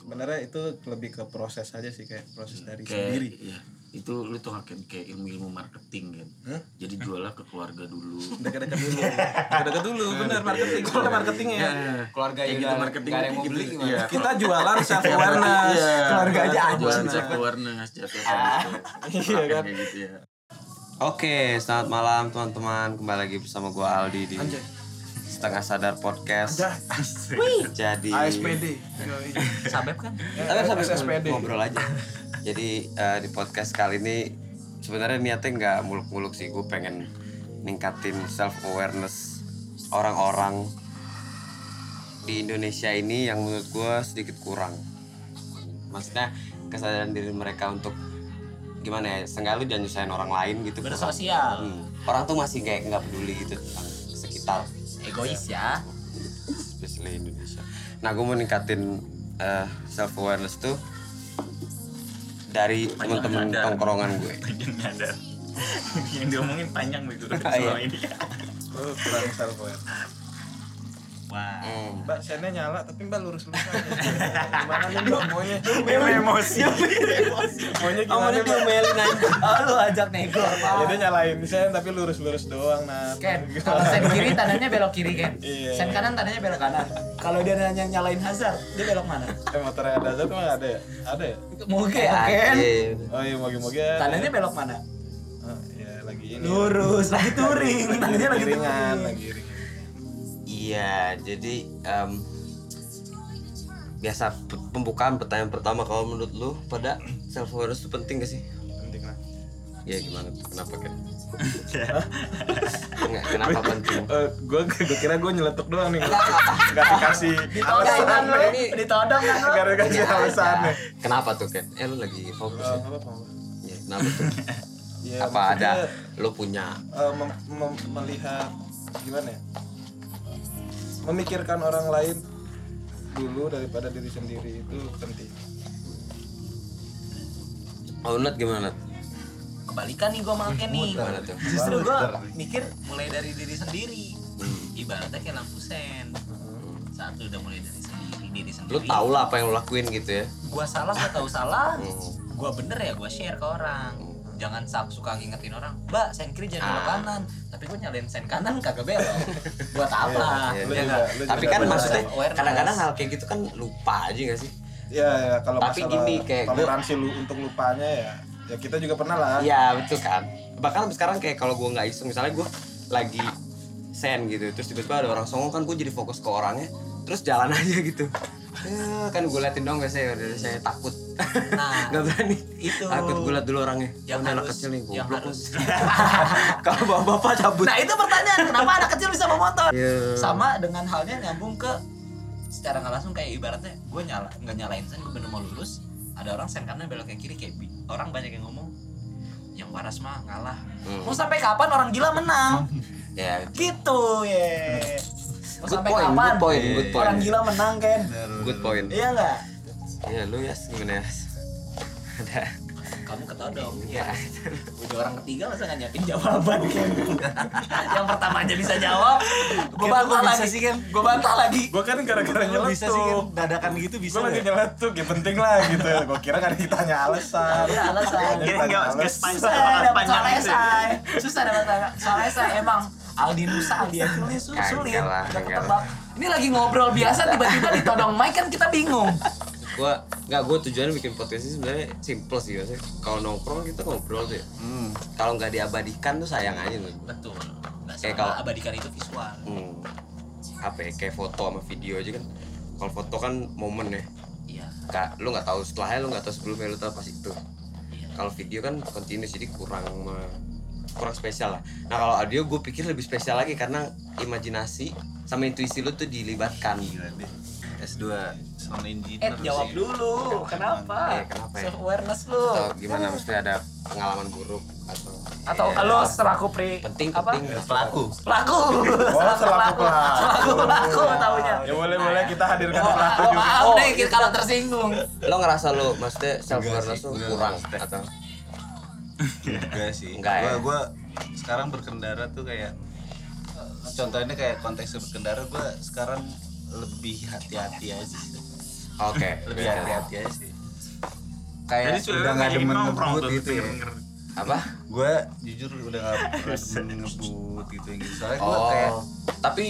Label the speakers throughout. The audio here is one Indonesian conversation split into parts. Speaker 1: sebenarnya itu lebih ke proses aja sih kayak proses dari
Speaker 2: kayak
Speaker 1: sendiri
Speaker 2: ya, itu lu tuh kayak, kayak ilmu-ilmu marketing kan
Speaker 1: Hah?
Speaker 2: jadi juallah ke keluarga dulu
Speaker 1: dekat-dekat dulu dekat-dekat dulu benar marketing soalnya marketingnya
Speaker 3: keluarga
Speaker 2: Iya. Kayak
Speaker 3: yang
Speaker 2: gitu
Speaker 3: Iya, nggak-
Speaker 2: marketing
Speaker 3: nggak ada yang mau
Speaker 2: gitu.
Speaker 3: beli gimana?
Speaker 2: Iya.
Speaker 1: kita jualan self awareness
Speaker 2: Iya.
Speaker 3: keluarga aja Ah. aja
Speaker 2: jualan
Speaker 3: sih.
Speaker 2: self awareness jatuh kayak gitu
Speaker 1: Iya,
Speaker 2: Terapin
Speaker 1: kan?
Speaker 2: kayak gitu ya
Speaker 4: Oke, selamat malam teman-teman. Kembali lagi bersama gua Aldi di
Speaker 1: Anjay.
Speaker 4: Setengah Sadar Podcast.
Speaker 1: Anjay.
Speaker 4: Jadi
Speaker 1: ASPD
Speaker 3: Sabep kan?
Speaker 1: Iya,
Speaker 4: Tapi sampai
Speaker 1: SSPD.
Speaker 4: ngobrol aja. Jadi eh, di podcast kali ini sebenarnya niatnya nggak muluk-muluk sih. Gue pengen ningkatin self awareness orang-orang di Indonesia ini yang menurut gue sedikit kurang. Maksudnya kesadaran diri mereka untuk gimana ya? Seenggaknya lu jangan nyusahin orang lain gitu.
Speaker 3: Bersosial,
Speaker 4: Hmm. orang tuh masih kayak nggak peduli gitu tentang sekitar
Speaker 3: egois ya.
Speaker 4: especially Indonesia nah gue mau ningkatin self awareness tuh dari teman-teman
Speaker 2: nyadar.
Speaker 4: tongkrongan gue
Speaker 2: pengen nyadar yang diomongin panjang begitu
Speaker 4: Iya.
Speaker 2: selama ini
Speaker 1: oh, kurang self awareness
Speaker 3: Wah.
Speaker 1: mbak sennya nyala tapi mbak lurus lurus aja gimana nih mbak maunya
Speaker 2: memang emosi
Speaker 1: maunya gimana mbak
Speaker 3: diomelin aja. Oh lu ajak nego
Speaker 1: jadi
Speaker 3: apa?
Speaker 1: nyalain sen tapi lurus lurus doang nah
Speaker 3: Ken, kalau sen kiri tandanya belok kiri Ken.
Speaker 1: Iya.
Speaker 3: Sen kanan tandanya belok kanan. Kalau dia nanya nyalain hazard, dia belok mana?
Speaker 1: eh motornya ada aja tuh ada ya ada ya
Speaker 3: Moge
Speaker 4: Iya,
Speaker 3: ya Ken.
Speaker 4: Oke.
Speaker 1: oh iya moge-moge ada.
Speaker 3: Tandanya belok mana?
Speaker 1: Oh, iya lagi ini ya.
Speaker 3: Lurus, lagi touring. Tandanya lagi
Speaker 1: ringan
Speaker 3: touring.
Speaker 1: lagi ringan
Speaker 4: Iya, jadi em, biasa pe- pembukaan pertanyaan pertama kalau menurut lu pada self awareness itu penting gak sih?
Speaker 1: penting lah
Speaker 4: Ya gimana? tuh? Kenapa kan? Enggak, kenapa penting?
Speaker 1: Eh, gue gue kira gue nyeletuk doang nih nggak dikasih
Speaker 3: Ditodong kan lu?
Speaker 1: alasan
Speaker 4: ini.
Speaker 3: Ditodong kan lu?
Speaker 1: nggak dikasih alasan nih
Speaker 4: Kenapa tuh kan? Eh lu lagi fokus ya? Ya, kenapa tuh?
Speaker 1: Ya,
Speaker 4: apa ada
Speaker 1: maksudnya,
Speaker 4: lu punya
Speaker 1: eh, mem- mem- melihat gimana ya memikirkan orang lain dulu daripada diri sendiri itu penting
Speaker 4: oh Nat gimana Nat?
Speaker 3: Kebalikan nih gua makan nih.
Speaker 4: gimana tuh
Speaker 3: Justru gua mikir mulai dari diri sendiri. Ibaratnya kayak lampu sen. Saat lu udah mulai dari sendiri, diri
Speaker 4: lu
Speaker 3: sendiri.
Speaker 4: tau lah apa yang lu lakuin gitu ya
Speaker 3: Gua salah, gua tahu salah.
Speaker 4: Hmm.
Speaker 3: Gua bener ya, gua share ke orang. Jangan sak suka ngingetin orang, Mbak, sen kiri jangan belok
Speaker 4: Ah.
Speaker 3: kanan. Tapi gua nyalain sen kanan kagak belok. Buat apa?
Speaker 4: Iya,
Speaker 1: Lu
Speaker 3: Ya
Speaker 1: juga-
Speaker 3: nggak?
Speaker 1: lu
Speaker 4: tapi
Speaker 1: juga
Speaker 4: kan
Speaker 1: bener.
Speaker 4: maksudnya
Speaker 3: awareness.
Speaker 4: kadang-kadang hal kayak gitu kan lupa aja gak sih
Speaker 1: ya, ya kalau
Speaker 4: Tapi
Speaker 1: masalah
Speaker 4: gini, kayak gua-
Speaker 1: toleransi lu untuk lupanya ya ya kita juga pernah lah
Speaker 4: iya betul kan bahkan sampai sekarang kayak kalau gua nggak iseng misalnya gua lagi sen gitu terus tiba-tiba ada orang songong kan gua jadi fokus ke orangnya terus jalan aja gitu ya, kan gue liatin dong biasanya udah saya takut
Speaker 3: Nah,
Speaker 4: nggak berani
Speaker 3: itu.
Speaker 4: takut gue liat dulu orangnya
Speaker 3: Yang
Speaker 4: Mana anak
Speaker 3: harus-
Speaker 4: kecil nih
Speaker 3: yang
Speaker 4: goblok lu.
Speaker 3: harus.
Speaker 4: kalau bapak-bapak cabut
Speaker 3: Nah itu pertanyaan, kenapa anak kecil bisa bawa motor?
Speaker 4: Iya.
Speaker 3: Sama dengan halnya nyambung ke secara nggak langsung kayak ibaratnya gue nyala nggak nyalain sen gue bener mau lulus ada orang sen kanan belok ke kiri kayak bi- orang banyak yang ngomong yang waras mah ngalah
Speaker 4: Hmm.
Speaker 3: mau sampai kapan orang gila menang
Speaker 4: ya
Speaker 3: gitu ya mau
Speaker 4: Good
Speaker 3: sampai
Speaker 4: point,
Speaker 3: kapan
Speaker 4: good point, good point.
Speaker 3: orang gila menang kan
Speaker 4: good point
Speaker 3: iya nggak
Speaker 4: Iya lu ya gimana ya? Ada.
Speaker 3: kamu ketodong
Speaker 4: Iya.
Speaker 3: udah orang ketiga masa nggak nyiapin jawaban kan yang pertama aja bisa jawab gue bantah
Speaker 5: bisa
Speaker 3: lagi
Speaker 5: sih, Ken?
Speaker 3: gue bantah lagi
Speaker 1: gue kan gara-gara
Speaker 5: Lu
Speaker 1: nyeletuk
Speaker 5: bisa sih kan dadakan gitu bisa
Speaker 1: gue lagi
Speaker 5: nggak?
Speaker 1: nyeletuk ya penting lah gitu gue kira kan ditanya alasan
Speaker 3: Iya, alasan.
Speaker 1: Ditanya
Speaker 2: Kira nggak, nggak sepanjang.
Speaker 3: susah dapat
Speaker 2: Panjang
Speaker 3: soal
Speaker 2: gitu.
Speaker 3: esai susah dapat soal- soal esai emang Aldi Nusa Aldi Akil ini su-
Speaker 4: Kagak
Speaker 3: sulit
Speaker 4: lah,
Speaker 3: Gak
Speaker 4: kagak
Speaker 3: ketebak ini lagi ngobrol biasa tiba-tiba ditodong mic kan kita bingung
Speaker 4: Gua enggak gua tujuannya bikin podcast ini sebenarnya simple sih maksudnya. Kalau nongkrong kita ngobrol tuh. Ya. Kalau nggak diabadikan tuh sayang aja loh.
Speaker 3: betul nggak
Speaker 4: Kayak kalau-
Speaker 3: abadikan itu visual
Speaker 4: Hmm. Apa ya? Kayak foto sama video aja kan. Kalau foto kan momen ya.
Speaker 3: iya
Speaker 4: Kak, lu nggak tahu setelahnya lu nggak tahu sebelumnya lu tahu pas itu.
Speaker 3: iya
Speaker 4: Kalau video kan continuous jadi kurang me- kurang spesial lah. Nah kalau audio gue pikir lebih spesial lagi karena imajinasi sama intuisi lu tuh dilibatkan.
Speaker 5: S2 sound engineer
Speaker 3: Eh jawab dulu, kenapa?
Speaker 4: Eh, kenapa ya?
Speaker 3: Self awareness lu
Speaker 4: atau gimana maksudnya ada pengalaman buruk atau
Speaker 3: atau
Speaker 4: Iya.
Speaker 3: lo selaku pri
Speaker 4: penting
Speaker 3: apa?
Speaker 4: penting
Speaker 5: pelaku
Speaker 3: Pelaku.
Speaker 1: Oh, selaku pelaku.
Speaker 3: Selaku pelaku Oh, taunya.
Speaker 1: Ya boleh boleh kita hadirkan
Speaker 3: Oh,
Speaker 1: pelaku
Speaker 3: oh, Iya,
Speaker 1: juga.
Speaker 3: maaf deh kita kalau tersinggung.
Speaker 4: lo ngerasa lo maksudnya self awareness
Speaker 5: sih,
Speaker 4: lo
Speaker 5: enggak,
Speaker 4: kurang
Speaker 5: maksudnya.
Speaker 4: atau
Speaker 5: enggak sih
Speaker 4: Enggak ya?
Speaker 5: gua gua sekarang berkendara tuh kayak eh, contohnya kayak konteks berkendara gua sekarang lebih hati-hati aja sih.
Speaker 4: Oke.
Speaker 5: lebih hati-hati aja sih
Speaker 6: Kayak udah
Speaker 5: jadi sebenarnya
Speaker 6: Iya. nggak
Speaker 5: kayak
Speaker 6: demen
Speaker 5: nongkrong
Speaker 6: ngebut
Speaker 5: tuh
Speaker 6: gitu ya.
Speaker 5: pengen ngerti.
Speaker 6: Apa?
Speaker 5: gue jujur udah gak pernah ngebut gitu yang gitu soalnya gue
Speaker 6: Oh.
Speaker 5: kayak
Speaker 6: Tapi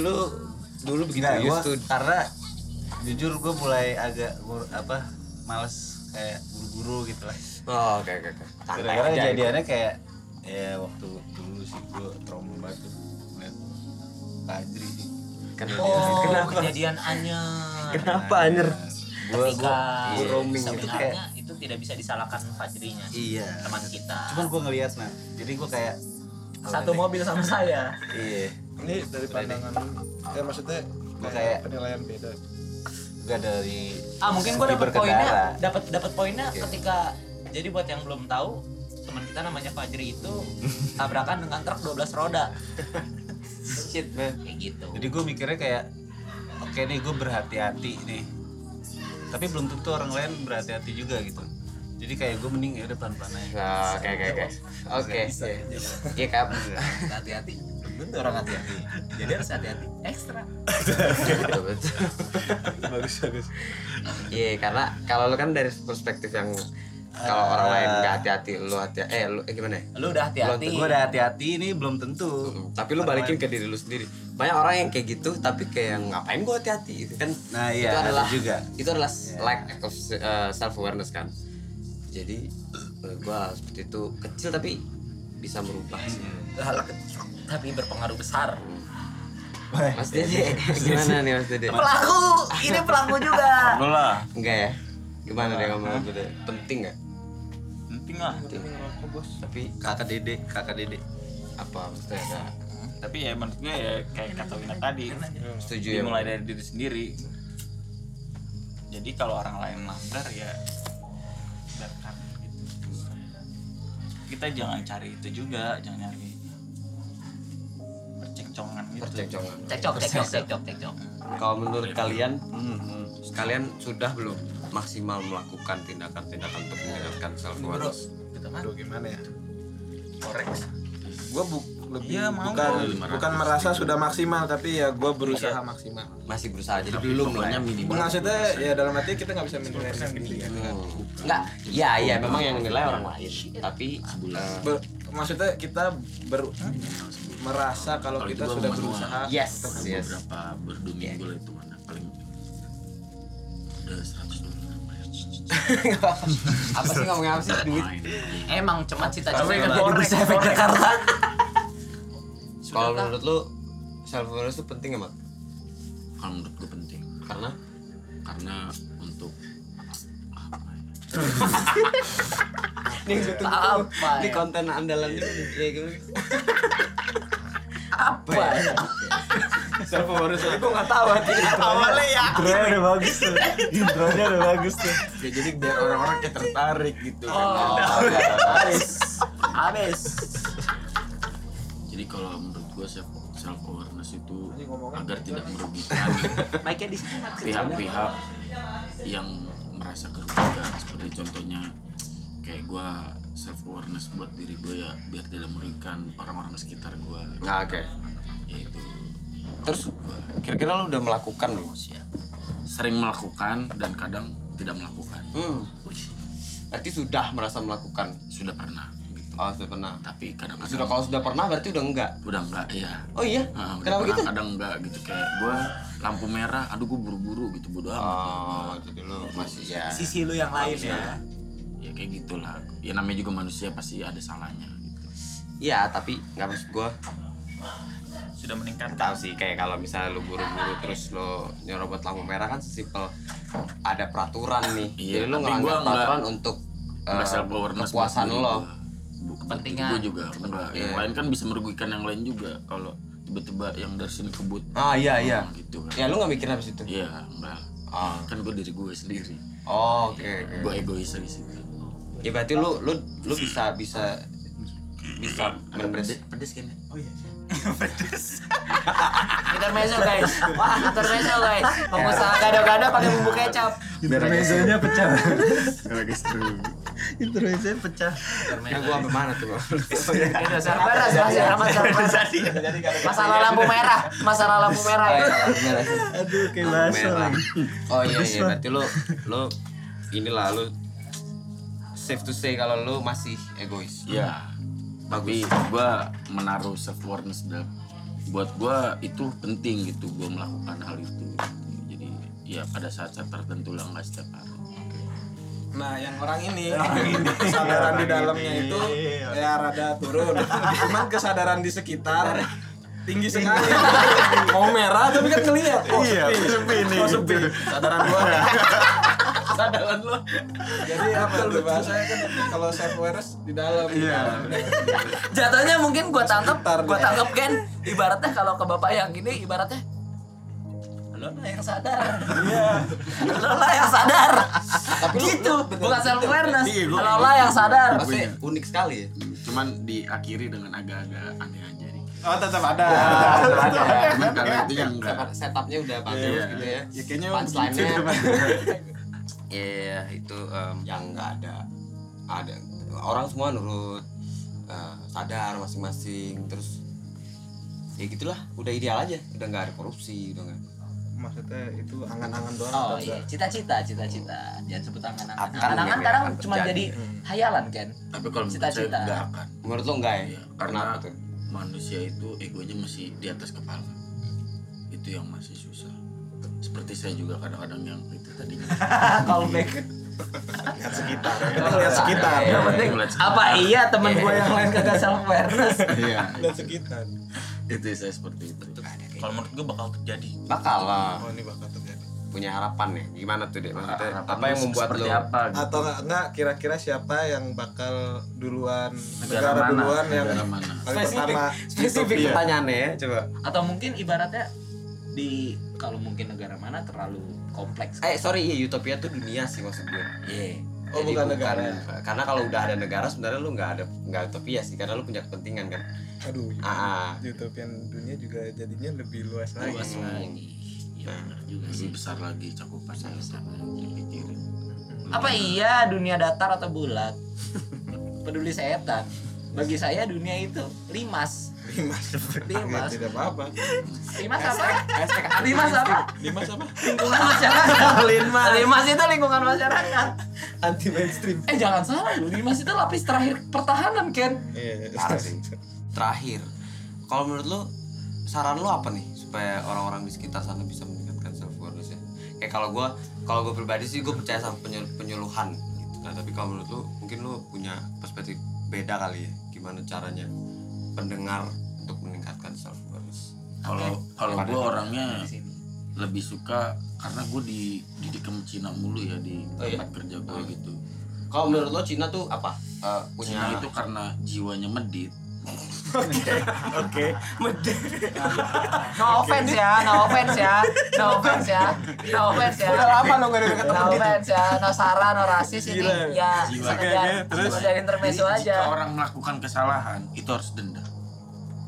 Speaker 6: lu dulu begitu
Speaker 5: Nggak,
Speaker 6: used
Speaker 5: gua,
Speaker 6: to
Speaker 5: karena jujur gue mulai agak ngur- apa males kayak buru-buru gitu lah
Speaker 4: Oh, Oke oke oke.
Speaker 5: gara-gara
Speaker 6: aja gitu.
Speaker 5: kejadiannya kayak ya waktu dulu sih gue trauma banget tuh ngeliat Kak Adri sih
Speaker 3: Oh, kejadian anyar.
Speaker 4: Kenapa anjir?
Speaker 5: gue
Speaker 3: Ketika
Speaker 5: gue roaming gitu kayak
Speaker 3: sebenarnya itu tidak bisa disalahkan Fajrinya,
Speaker 5: iya
Speaker 3: teman kita.
Speaker 5: cuman gue ngeliat nah jadi gue kayak
Speaker 3: satu
Speaker 5: mobil
Speaker 3: mobil sama saya.
Speaker 5: iya
Speaker 1: Ini dari pandangan ya maksudnya
Speaker 5: kayak-
Speaker 1: penilaian beda.
Speaker 5: gue dari
Speaker 3: Ah, mungkin gua
Speaker 5: segi
Speaker 3: dapat
Speaker 5: berkendara.
Speaker 3: poinnya, dapat dapat poinnya
Speaker 5: Oke.
Speaker 3: ketika jadi buat yang belum tahu teman kita namanya Fajri itu tabrakan dengan truk 12 roda
Speaker 4: Shit man.
Speaker 3: kayak gitu.
Speaker 5: jadi gue mikirnya kayak oke nih gue berhati-hati nih tapi belum tentu orang lain berhati-hati juga gitu jadi kayak gue mending ya udah pelan-pelan aja
Speaker 4: Nah, Oke oke oke. Oke. Iya kap.
Speaker 3: hati-hati Lu tuh orang hati-hati jadi harus hati-hati ekstra
Speaker 4: Betul, betul.
Speaker 5: bagus bagus
Speaker 4: Iya karena kalau lu kan dari perspektif yang kalau orang lain
Speaker 5: Ah.
Speaker 4: nggak hati-hati lu hati eh lu eh, gimana ya?
Speaker 3: lu udah hati-hati
Speaker 5: gue udah hati-hati ini belum tentu
Speaker 4: Hmm, Tapi lu balikin ke diri lu sendiri. Banyak orang yang kayak gitu tapi kayak ngapain gua hati-hati itu kan.
Speaker 5: nah
Speaker 4: itu
Speaker 5: iya ada
Speaker 4: adalah
Speaker 5: juga
Speaker 4: itu adalah lack of self awareness kan. Jadi menurut gua seperti itu kecil tapi bisa merubah sih.
Speaker 3: hal kecil tapi berpengaruh besar
Speaker 4: Mas Dede Iya, gimana nih Mas Dede?
Speaker 3: pelaku ini pelaku juga
Speaker 5: lo lah
Speaker 4: Enggak ya? Gimana deh ngomong Mas Dede? Penting nggak?
Speaker 5: penting lah
Speaker 1: Ini ngerokok bos.
Speaker 4: Tapi
Speaker 5: kakak dede kakak dede
Speaker 4: apa maksudnya ada
Speaker 6: Tapi ya maksudnya ya kayak kata Wina tadi.
Speaker 4: setuju ya?
Speaker 6: Dimulai dari diri sendiri. Jadi kalau orang lain melanggar ya biarkan gitu. Kita jangan cari itu juga, jangan nyari percekcongan gitu.
Speaker 4: Percekcokan.
Speaker 3: cekcok cekcok cekcok cekcok
Speaker 4: Kalau menurut kalian, kalian sudah belum maksimal melakukan tindakan-tindakan untuk meningkatkan self awareness?
Speaker 3: gitu kan
Speaker 1: Aduh gimana ya?
Speaker 3: korek
Speaker 1: Gue bu lebih
Speaker 6: Iya, mau.
Speaker 1: bukan bukan merasa sudah maksimal tapi ya gue berusaha
Speaker 5: Iya.
Speaker 1: maksimal.
Speaker 4: Masih berusaha jadi belum lah ya.
Speaker 1: Minimal Maksudnya ya dalam arti kita nggak bisa menilai sendiri ya.
Speaker 4: Enggak, iya iya memang yang nilai orang lain, tapi eh,
Speaker 1: Ber- maksudnya kita ber merasa kalau
Speaker 2: Kalau
Speaker 1: kita
Speaker 2: itu gua
Speaker 1: sudah
Speaker 2: manual.
Speaker 1: berusaha
Speaker 4: yes
Speaker 2: Pernah
Speaker 4: yes. Iya.
Speaker 2: beberapa berduming gue lah itu mana paling udah 100 dolar lumayan.
Speaker 4: apa sih ngomongnya apa sih duit?
Speaker 2: Main.
Speaker 3: emang cuman cita-cita
Speaker 1: Tapi kan
Speaker 3: jadi
Speaker 1: korek,
Speaker 3: bursa efek Jakarta
Speaker 4: Kalau menurut lu self awareness itu penting emang?
Speaker 2: Kalau menurut gue penting
Speaker 4: Karena
Speaker 2: karena untuk apa ya?
Speaker 4: ini
Speaker 3: apa
Speaker 4: ini
Speaker 3: ya?
Speaker 4: konten andalan ini ya gimana?
Speaker 3: apa ya?
Speaker 4: Self awareness itu gua nggak tahu hati.
Speaker 3: awalnya ya
Speaker 5: intronya udah bagus tuh intronya udah bagus tuh
Speaker 6: Ya jadi biar orang-orang kayak tertarik gitu.
Speaker 4: kan.
Speaker 3: oh habis habis
Speaker 2: jadi kalau menurut gue self self awareness itu
Speaker 1: Ini ngomongnya
Speaker 2: agar tidak merugikan
Speaker 3: Mike di sini Mike.
Speaker 2: pihak-pihak yang merasa kerugian seperti contohnya kayak gue self awareness buat diri gue ya biar tidak merugikan orang-orang sekitar gue
Speaker 4: Nah oke.
Speaker 2: yaitu
Speaker 4: Terus
Speaker 2: gue
Speaker 4: kira-kira lu udah melakukan belum?
Speaker 2: sering melakukan dan kadang tidak melakukan
Speaker 4: Hmm,
Speaker 2: Wih,
Speaker 4: berarti sudah merasa melakukan.
Speaker 2: sudah pernah gitu.
Speaker 4: Oh, sudah pernah.
Speaker 2: tapi kadang-kadang
Speaker 4: Sudah kalau sudah pernah berarti udah enggak.
Speaker 2: udah enggak ya
Speaker 4: Oh iya.
Speaker 2: Nah, udah
Speaker 4: Kenapa
Speaker 2: pernah,
Speaker 4: gitu?
Speaker 2: kadang enggak gitu kayak gue lampu merah aduh gue buru-buru gitu bodo amat
Speaker 4: Oh, jadi lu masih ya.
Speaker 3: sisi lu yang lain ya
Speaker 2: ya kayak gitulah ya namanya juga manusia pasti ada salahnya gitu
Speaker 4: Iya, tapi nggak maksud gua
Speaker 6: Sudah meningkat.
Speaker 4: tahu sih kayak kalau misalnya lu buru-buru terus lu nyerobot lampu merah kan sesimpel ada peraturan nih.
Speaker 2: Iya,
Speaker 4: jadi lu
Speaker 2: tapi
Speaker 4: ngelanggar
Speaker 2: gua enggak-
Speaker 4: peraturan untuk
Speaker 2: Nggak
Speaker 4: eh,
Speaker 2: self-awareness
Speaker 4: kepuasan
Speaker 2: buat diri
Speaker 4: lo.
Speaker 2: gua. Bu-
Speaker 3: Kepentingan.
Speaker 2: gue juga enggak yang
Speaker 4: Iya.
Speaker 2: lain kan bisa merugikan yang lain juga kalau tiba-tiba yang dari sini kebut
Speaker 4: Ah iya iya.
Speaker 2: Nah, gitu kan
Speaker 4: Ya lu nggak mikir habis itu.
Speaker 2: iya enggak
Speaker 4: Ah.
Speaker 2: kan gue diri gue sendiri
Speaker 4: Oh, oke. oke.
Speaker 2: gue egois aja sih
Speaker 4: Ya berarti lu lu lu bisa bisa bisa
Speaker 2: pedes
Speaker 4: menerima
Speaker 2: pedes kan ya?
Speaker 3: intermezzo guys wah intermezzo guys pengusaha gado-gado pakai bumbu kecap
Speaker 5: biar mezanya pecah
Speaker 1: Intronya pecah.
Speaker 4: Nah, gua sampai mana tuh? Oh, iya.
Speaker 3: Sabar, sabar, sabar, sabar, Masalah lampu merah, masalah lampu merah.
Speaker 4: Oh, iya, bener.
Speaker 1: Aduh kayak
Speaker 4: Lampu
Speaker 1: bahasa
Speaker 4: merah.
Speaker 1: lagi.
Speaker 4: Oh iya iya, berarti lu lu inilah lu safe to say kalau lu masih egois.
Speaker 1: Iya,
Speaker 2: Ya, tapi gua menaruh self awareness dalam buat gua itu penting gitu gua melakukan hal itu. Jadi ya pada saat-saat tertentu lah nggak setiap hari.
Speaker 1: Nah, yang orang ini, Iya, kesadaran di dalamnya itu ya rada turun. Cuman kesadaran di sekitar tinggi sekali. Mau merah tapi kan ngeliat. Oh, iya, sepi nih. Oh, sepi. Kesadaran gua. kesadaran lo. Jadi apa tuh bahasanya kan kalau self awareness di dalam. Iya.
Speaker 3: Jatuhnya mungkin gua tangkep,
Speaker 1: Sebentar, deh.
Speaker 3: gua tangkep kan ibaratnya kalau ke bapak yang ini ibaratnya lo lah yang sadar. Iya. Lo lah yang sadar. gitu, bukan self awareness.
Speaker 2: Iya, gua-
Speaker 3: Lo lah yang sadar.
Speaker 4: Pasti unik sekali ya.
Speaker 2: Cuman diakhiri dengan agak-agak aneh aja nih.
Speaker 1: Oh, tetap ada.
Speaker 2: Cuman kalau itu yang enggak.
Speaker 4: Setupnya udah bagus
Speaker 2: Iya.
Speaker 4: gitu ya.
Speaker 1: Ya kayaknya
Speaker 4: Punchline-nya. Iya, itu em, yang nggak ada ada orang semua nurut eh, sadar masing-masing terus ya gitulah udah ideal aja udah nggak ada korupsi udah nggak
Speaker 1: maksudnya itu angan-angan doang.
Speaker 3: Oh
Speaker 1: atau
Speaker 3: iya,
Speaker 1: enggak?
Speaker 3: cita-cita, cita-cita. Jangan sebut angan-angan.
Speaker 4: Akan
Speaker 3: Angan-angan
Speaker 4: ya,
Speaker 3: kadang
Speaker 4: akan
Speaker 3: cuma
Speaker 4: terjadi.
Speaker 3: jadi hayalan kan.
Speaker 2: Tapi kalau menurut saya
Speaker 3: Cita-cita.
Speaker 2: nggak akan.
Speaker 4: menurut lo enggak ya
Speaker 2: Iya,
Speaker 4: karena
Speaker 2: karena-
Speaker 4: apa tuh
Speaker 2: Manusia itu egonya masih di atas kepala. Itu yang masih susah. Seperti saya juga kadang-kadang yang itu tadinya.
Speaker 3: Callback.
Speaker 1: Lihat sekitar. Lihat sekitar.
Speaker 3: Yang penting apa iya temen gue yang lain kagak self awareness.
Speaker 2: Iya.
Speaker 1: Lihat
Speaker 2: itu-
Speaker 1: sekitar.
Speaker 2: Itu saya seperti itu.
Speaker 7: Kalau menurut gue bakal terjadi.
Speaker 4: bakal lah
Speaker 1: Oh, ini bakal terjadi.
Speaker 4: punya harapan ya gimana tuh deh maksudnya
Speaker 2: Harapan
Speaker 4: apa yang
Speaker 2: lu
Speaker 4: membuat
Speaker 2: seperti
Speaker 4: lo
Speaker 2: apa gitu.
Speaker 1: atau enggak, enggak kira-kira siapa yang bakal duluan
Speaker 2: negara,
Speaker 1: negara,
Speaker 2: mana
Speaker 1: duluan yang
Speaker 2: negara mana
Speaker 1: paling pertama
Speaker 4: spesifik
Speaker 1: Iya.
Speaker 4: pertanyaannya ya coba
Speaker 3: Atau mungkin ibaratnya di kalau mungkin negara mana terlalu kompleks.
Speaker 4: eh sorry iya utopia tuh dunia sih maksud gue
Speaker 3: Iya.
Speaker 1: Oh, bukan negara.
Speaker 4: karena kalau udah ada negara sebenarnya lu nggak ada nggak utopia sih karena lu punya kepentingan kan
Speaker 1: aduh
Speaker 4: ah
Speaker 1: utopian dunia juga jadinya lebih luas lagi
Speaker 2: luas
Speaker 4: Nah,
Speaker 2: lagi ya benar juga sih besar lagi cakupan saya sama dipikirin
Speaker 3: Apa iya dunia datar atau bulat? Peduli setan. Bagi saya dunia itu limas.
Speaker 1: limas
Speaker 3: Limas.
Speaker 1: tidak apa apa
Speaker 3: Limas apa? Limas apa?
Speaker 1: limas apa
Speaker 3: Lingkungan masyarakat. Limas. Limas itu lingkungan masyarakat.
Speaker 1: anti mainstream
Speaker 3: Eh jangan salah loh, Limas itu lapis terakhir pertahanan Ken.
Speaker 1: iya
Speaker 4: Parah sih. terakhir kalau menurut lu saran lu apa nih supaya orang-orang di sekitar sana bisa meningkatkan self awareness ya kayak kalau gua kalau gue pribadi sih gue percaya sama penyel- penyuluhan gitu Nah, tapi kalau menurut lu mungkin lu punya perspektif beda kali ya gimana caranya pendengar untuk meningkatkan self awareness
Speaker 2: kalau kalau gue
Speaker 4: Pada-
Speaker 2: orangnya lebih suka karena gue di dididik sama Cina mulu ya di
Speaker 4: Oh, iya?
Speaker 2: tempat kerja gue
Speaker 4: Ah.
Speaker 2: gitu
Speaker 4: kalau menurut lo Cina tuh apa Eh, punya
Speaker 2: Cina itu karena jiwanya medit
Speaker 3: No offense ya, no offense ya, no offense ya, no offense ya. Udah lama lo gak deket No offense ya, no saran, no rasis ini
Speaker 1: Gila.
Speaker 3: ya
Speaker 2: Jiwa.
Speaker 3: sekedar sekedar intermezzo
Speaker 2: Jadi, jika
Speaker 3: aja.
Speaker 2: orang melakukan kesalahan itu harus denda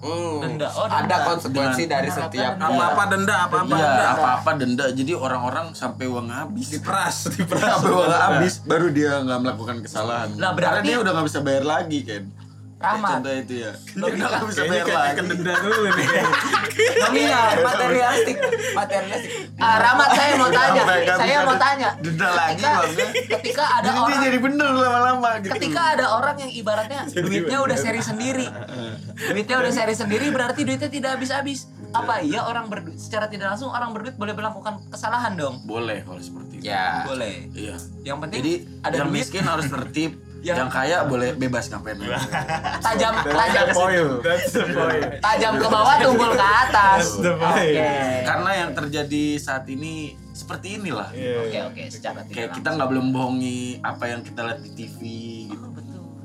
Speaker 4: Hmm,
Speaker 3: Denda. Oh,
Speaker 4: ada
Speaker 3: denda.
Speaker 4: konsekuensi
Speaker 2: Dengan-
Speaker 4: dari setiap
Speaker 1: apa apa denda apa apa
Speaker 2: iya apa apa denda jadi orang-orang sampai uang habis
Speaker 1: diperas diperas Iya.
Speaker 2: sampai uang habis baru dia nggak melakukan kesalahan
Speaker 3: Lah, berarti-
Speaker 2: karena dia udah nggak bisa bayar lagi kan
Speaker 3: Rahmat.
Speaker 2: contoh itu ya dia udah nggak bisa
Speaker 1: kayaknya
Speaker 2: bayar
Speaker 1: kayak
Speaker 2: lagi
Speaker 1: ke denda dulu nih
Speaker 3: Nominal, materialistik, materialistik. Ah, Rahmat saya mau tanya,
Speaker 2: Sampai nggak
Speaker 3: saya
Speaker 2: kan bisa
Speaker 3: mau
Speaker 2: di-
Speaker 3: tanya.
Speaker 2: denda lagi
Speaker 3: Ketika-
Speaker 2: bangga.
Speaker 3: Ketika ada
Speaker 2: jadi dia
Speaker 3: orang
Speaker 2: jadi bener lama-lama gitu
Speaker 3: ketika ada orang yang ibaratnya duitnya udah seri sendiri duitnya udah seri sendiri berarti duitnya tidak habis-habis apa iya orang berduit secara tidak langsung orang berduit boleh melakukan kesalahan dong
Speaker 2: boleh kalau seperti itu
Speaker 4: ya
Speaker 3: boleh
Speaker 2: iya
Speaker 3: yang penting
Speaker 2: jadi
Speaker 3: ada
Speaker 2: yang
Speaker 3: duit Ya.
Speaker 2: miskin harus tertib
Speaker 3: Yang-
Speaker 2: yang kaya boleh bebas ngapain aja
Speaker 3: tajam tajam
Speaker 1: that's the point
Speaker 3: tajam ke bawah tumpul ke atas
Speaker 1: the point.
Speaker 3: oke
Speaker 2: karena yang terjadi saat ini seperti inilah
Speaker 1: Iya.
Speaker 3: oke oke secara tidak
Speaker 2: kayak kita nggak boleh membohongi apa yang kita lihat di TV gitu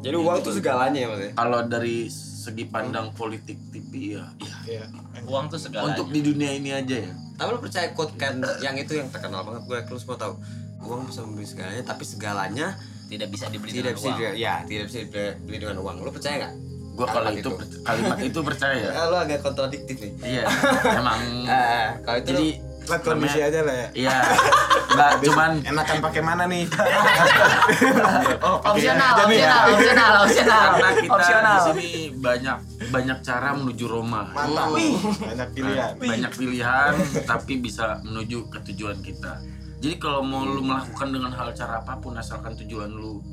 Speaker 4: jadi uang tuh segalanya ya maksudnya
Speaker 2: kalau dari segi pandang politik TV ya, ya.
Speaker 1: Iya.
Speaker 8: Uang tuh segalanya.
Speaker 2: untuk di dunia ini aja ya
Speaker 4: Tapi lu percaya quote kan yang itu yang terkenal banget gue lu semua tahu. Uang bisa membeli segalanya tapi segalanya
Speaker 8: tidak bisa dibeli
Speaker 4: tidak
Speaker 8: dengan
Speaker 4: bisa
Speaker 8: uang.
Speaker 4: dibeli, ya tidak bisa dibeli dengan uang. Lu percaya nggak?
Speaker 2: gua kalau
Speaker 4: Kalimat
Speaker 2: itu per- kalimat itu percaya
Speaker 4: Eh, lu agak kontradiktif nih.
Speaker 2: iya emang
Speaker 4: Eh, kalau itu
Speaker 2: jadi
Speaker 4: lu
Speaker 1: Lihat kondisi aja lah ya.
Speaker 2: Iya. Enggak cuman
Speaker 1: Enakan pakai mana nih?
Speaker 9: Opsional,
Speaker 3: ya,
Speaker 9: opsional, opsional, opsional.
Speaker 3: Nah,
Speaker 2: karena kita
Speaker 9: Opsional.
Speaker 2: di sini banyak banyak cara menuju Roma.
Speaker 1: Mantap. Banyak pilihan.
Speaker 2: Nah, Banyak pilihan tapi bisa menuju ke tujuan kita. Jadi kalau mau lu melakukan dengan hal cara apapun asalkan tujuan lu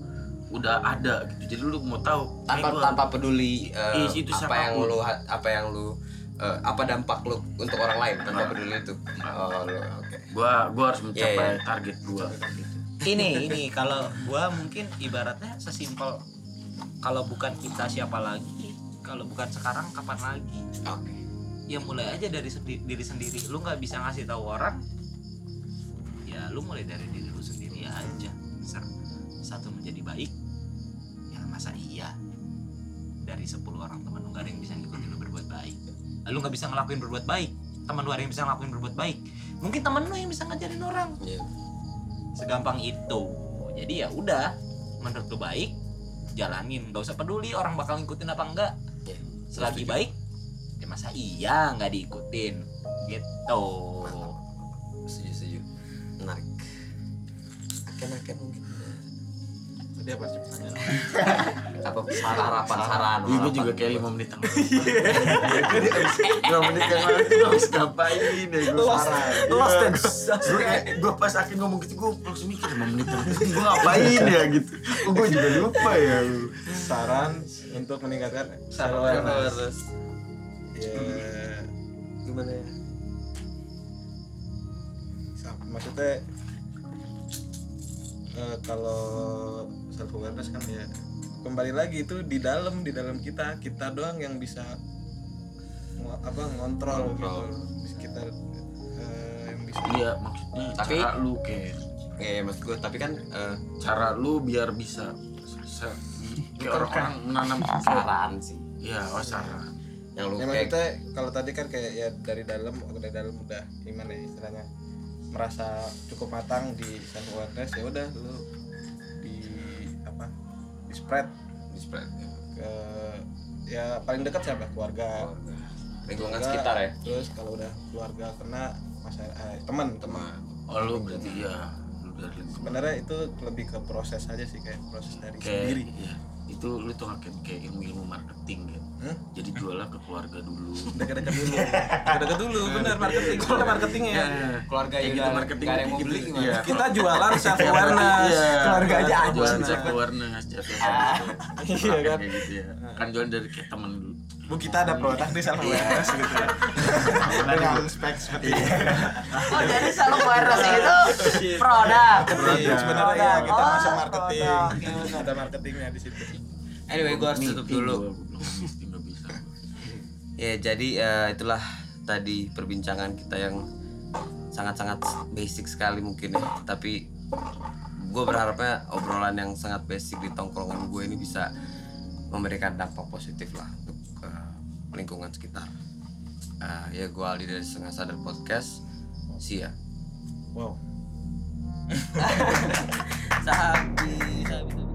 Speaker 2: udah ada gitu. Jadi lu mau tahu eh,
Speaker 4: tanpa
Speaker 2: gua-
Speaker 4: tanpa peduli eh,
Speaker 2: Ih, itu
Speaker 4: apa
Speaker 2: siapapun.
Speaker 4: yang lu ha- apa yang lu eh, apa dampak lu untuk orang lain tanpa peduli itu Nah. oh lu oke
Speaker 2: gua gua harus mencapai
Speaker 4: Iya, iya.
Speaker 2: target gua gitu.
Speaker 3: ini ini kalau gua mungkin ibaratnya sesimpel kalau bukan kita siapa lagi kalau bukan sekarang kapan lagi
Speaker 4: Oke.
Speaker 3: ya mulai aja dari sendi- diri sendiri lu nggak bisa ngasih tahu orang ya lu mulai dari diri lu sendiri aja Ser- satu menjadi baik ya masa iya dari 10 orang teman lu nggak ada yang bisa ngikutin lu berbuat baik Nah, lu nggak bisa ngelakuin berbuat baik teman lu ada yang bisa ngelakuin berbuat baik mungkin teman lu yang bisa ngajarin orang
Speaker 4: Iya.
Speaker 3: segampang itu jadi ya udah menurut lu baik jalanin gak usah peduli orang bakal ngikutin apa enggak
Speaker 4: Iya.
Speaker 3: selagi baik ya masa iya nggak diikutin gitu
Speaker 4: setuju setuju menarik akan akan mungkin
Speaker 1: Dia apa sih pertanyaannya?
Speaker 4: apa saran harapan saran
Speaker 2: Iya, gue juga kayak lima menit yang lalu. Jadi abis lima menit yang lalu tuh abis ngapain ya gue parah. Lost and gue gue pas akhir ngomong gitu gue langsung mikir lima menit yang lalu gue ngapain ya gitu. Oh, gue juga lupa ya.
Speaker 1: Saran untuk meningkatkan self awareness.
Speaker 4: harus
Speaker 1: Ya, gimana ya? Sa- Maksudnya eh, kalau self awareness kan ya kembali lagi itu di dalam di dalam kita kita doang yang bisa ngo- apa ngontrol gitu kita eh, yang bisa
Speaker 2: Iya maksudnya
Speaker 4: Tapi-
Speaker 2: cara lu kayak
Speaker 4: Iya, mas gue tapi kan eh,
Speaker 2: cara lu biar bisa bisa kayak orang-orang menanam sesuatu.
Speaker 4: saran sih
Speaker 2: Iya, oh saran.
Speaker 4: yang lu
Speaker 1: Ya
Speaker 4: kayak
Speaker 1: maksudnya kalau tadi kan kayak ya dari dalam dari dalam udah gimana ya istilahnya merasa cukup matang di self awareness ya udah lu di apa di spread
Speaker 4: di spread ya.
Speaker 1: ke ya paling dekat siapa keluarga
Speaker 4: lingkungan
Speaker 1: Keluarga,
Speaker 4: sekitar ya
Speaker 1: terus kalau udah keluarga kena masyarakat eh, teman teman
Speaker 2: Oh lu berarti iya lu dari lingkungan.
Speaker 1: sebenarnya itu lebih ke proses aja sih kayak proses dari sendiri
Speaker 2: kayak iya. itu lu tuh kayak kayak ilmu-ilmu marketing kan.
Speaker 1: Hmm?
Speaker 2: Jadi jualan ke keluarga dulu.
Speaker 1: dekat-dekat dulu dekat-dekat dulu
Speaker 2: Nah,
Speaker 1: bener marketing kita
Speaker 2: Iya,
Speaker 1: marketingnya
Speaker 4: keluarga ya,
Speaker 2: Kayak gitu marketing.
Speaker 4: ada yang mau
Speaker 2: gitu.
Speaker 4: beli gimana
Speaker 2: Iya.
Speaker 1: kita jualan self awareness
Speaker 2: Iya.
Speaker 1: keluarga aja
Speaker 2: jualan
Speaker 1: anjing.
Speaker 2: self awareness iya
Speaker 1: Iya kan?
Speaker 2: kan gitu ya kan jualan dari kayak teman dulu
Speaker 1: Bu kita ada produk di self awareness gitu ya. Dengan spek seperti itu.
Speaker 9: Oh, jadi selalu awareness itu produk.
Speaker 1: Iya, sebenarnya ya
Speaker 9: Produk.
Speaker 1: kita
Speaker 9: Oh,
Speaker 1: masuk marketing.
Speaker 9: produk.
Speaker 1: Ada marketingnya di situ.
Speaker 4: anyway gue harus tutup
Speaker 2: Iya,
Speaker 4: dulu
Speaker 2: nggak bisa
Speaker 4: Ya jadi eh, itulah tadi perbincangan kita yang sangat-sangat basic sekali mungkin ya Tapi gue berharapnya obrolan yang sangat basic di tongkrongan gue ini bisa memberikan dampak positif lah untuk eh, lingkungan sekitar Eh, Ya gue Aldi dari Setengah Sadar Podcast See ya
Speaker 1: Wow.
Speaker 4: Sahabi, sahabi, sahabi.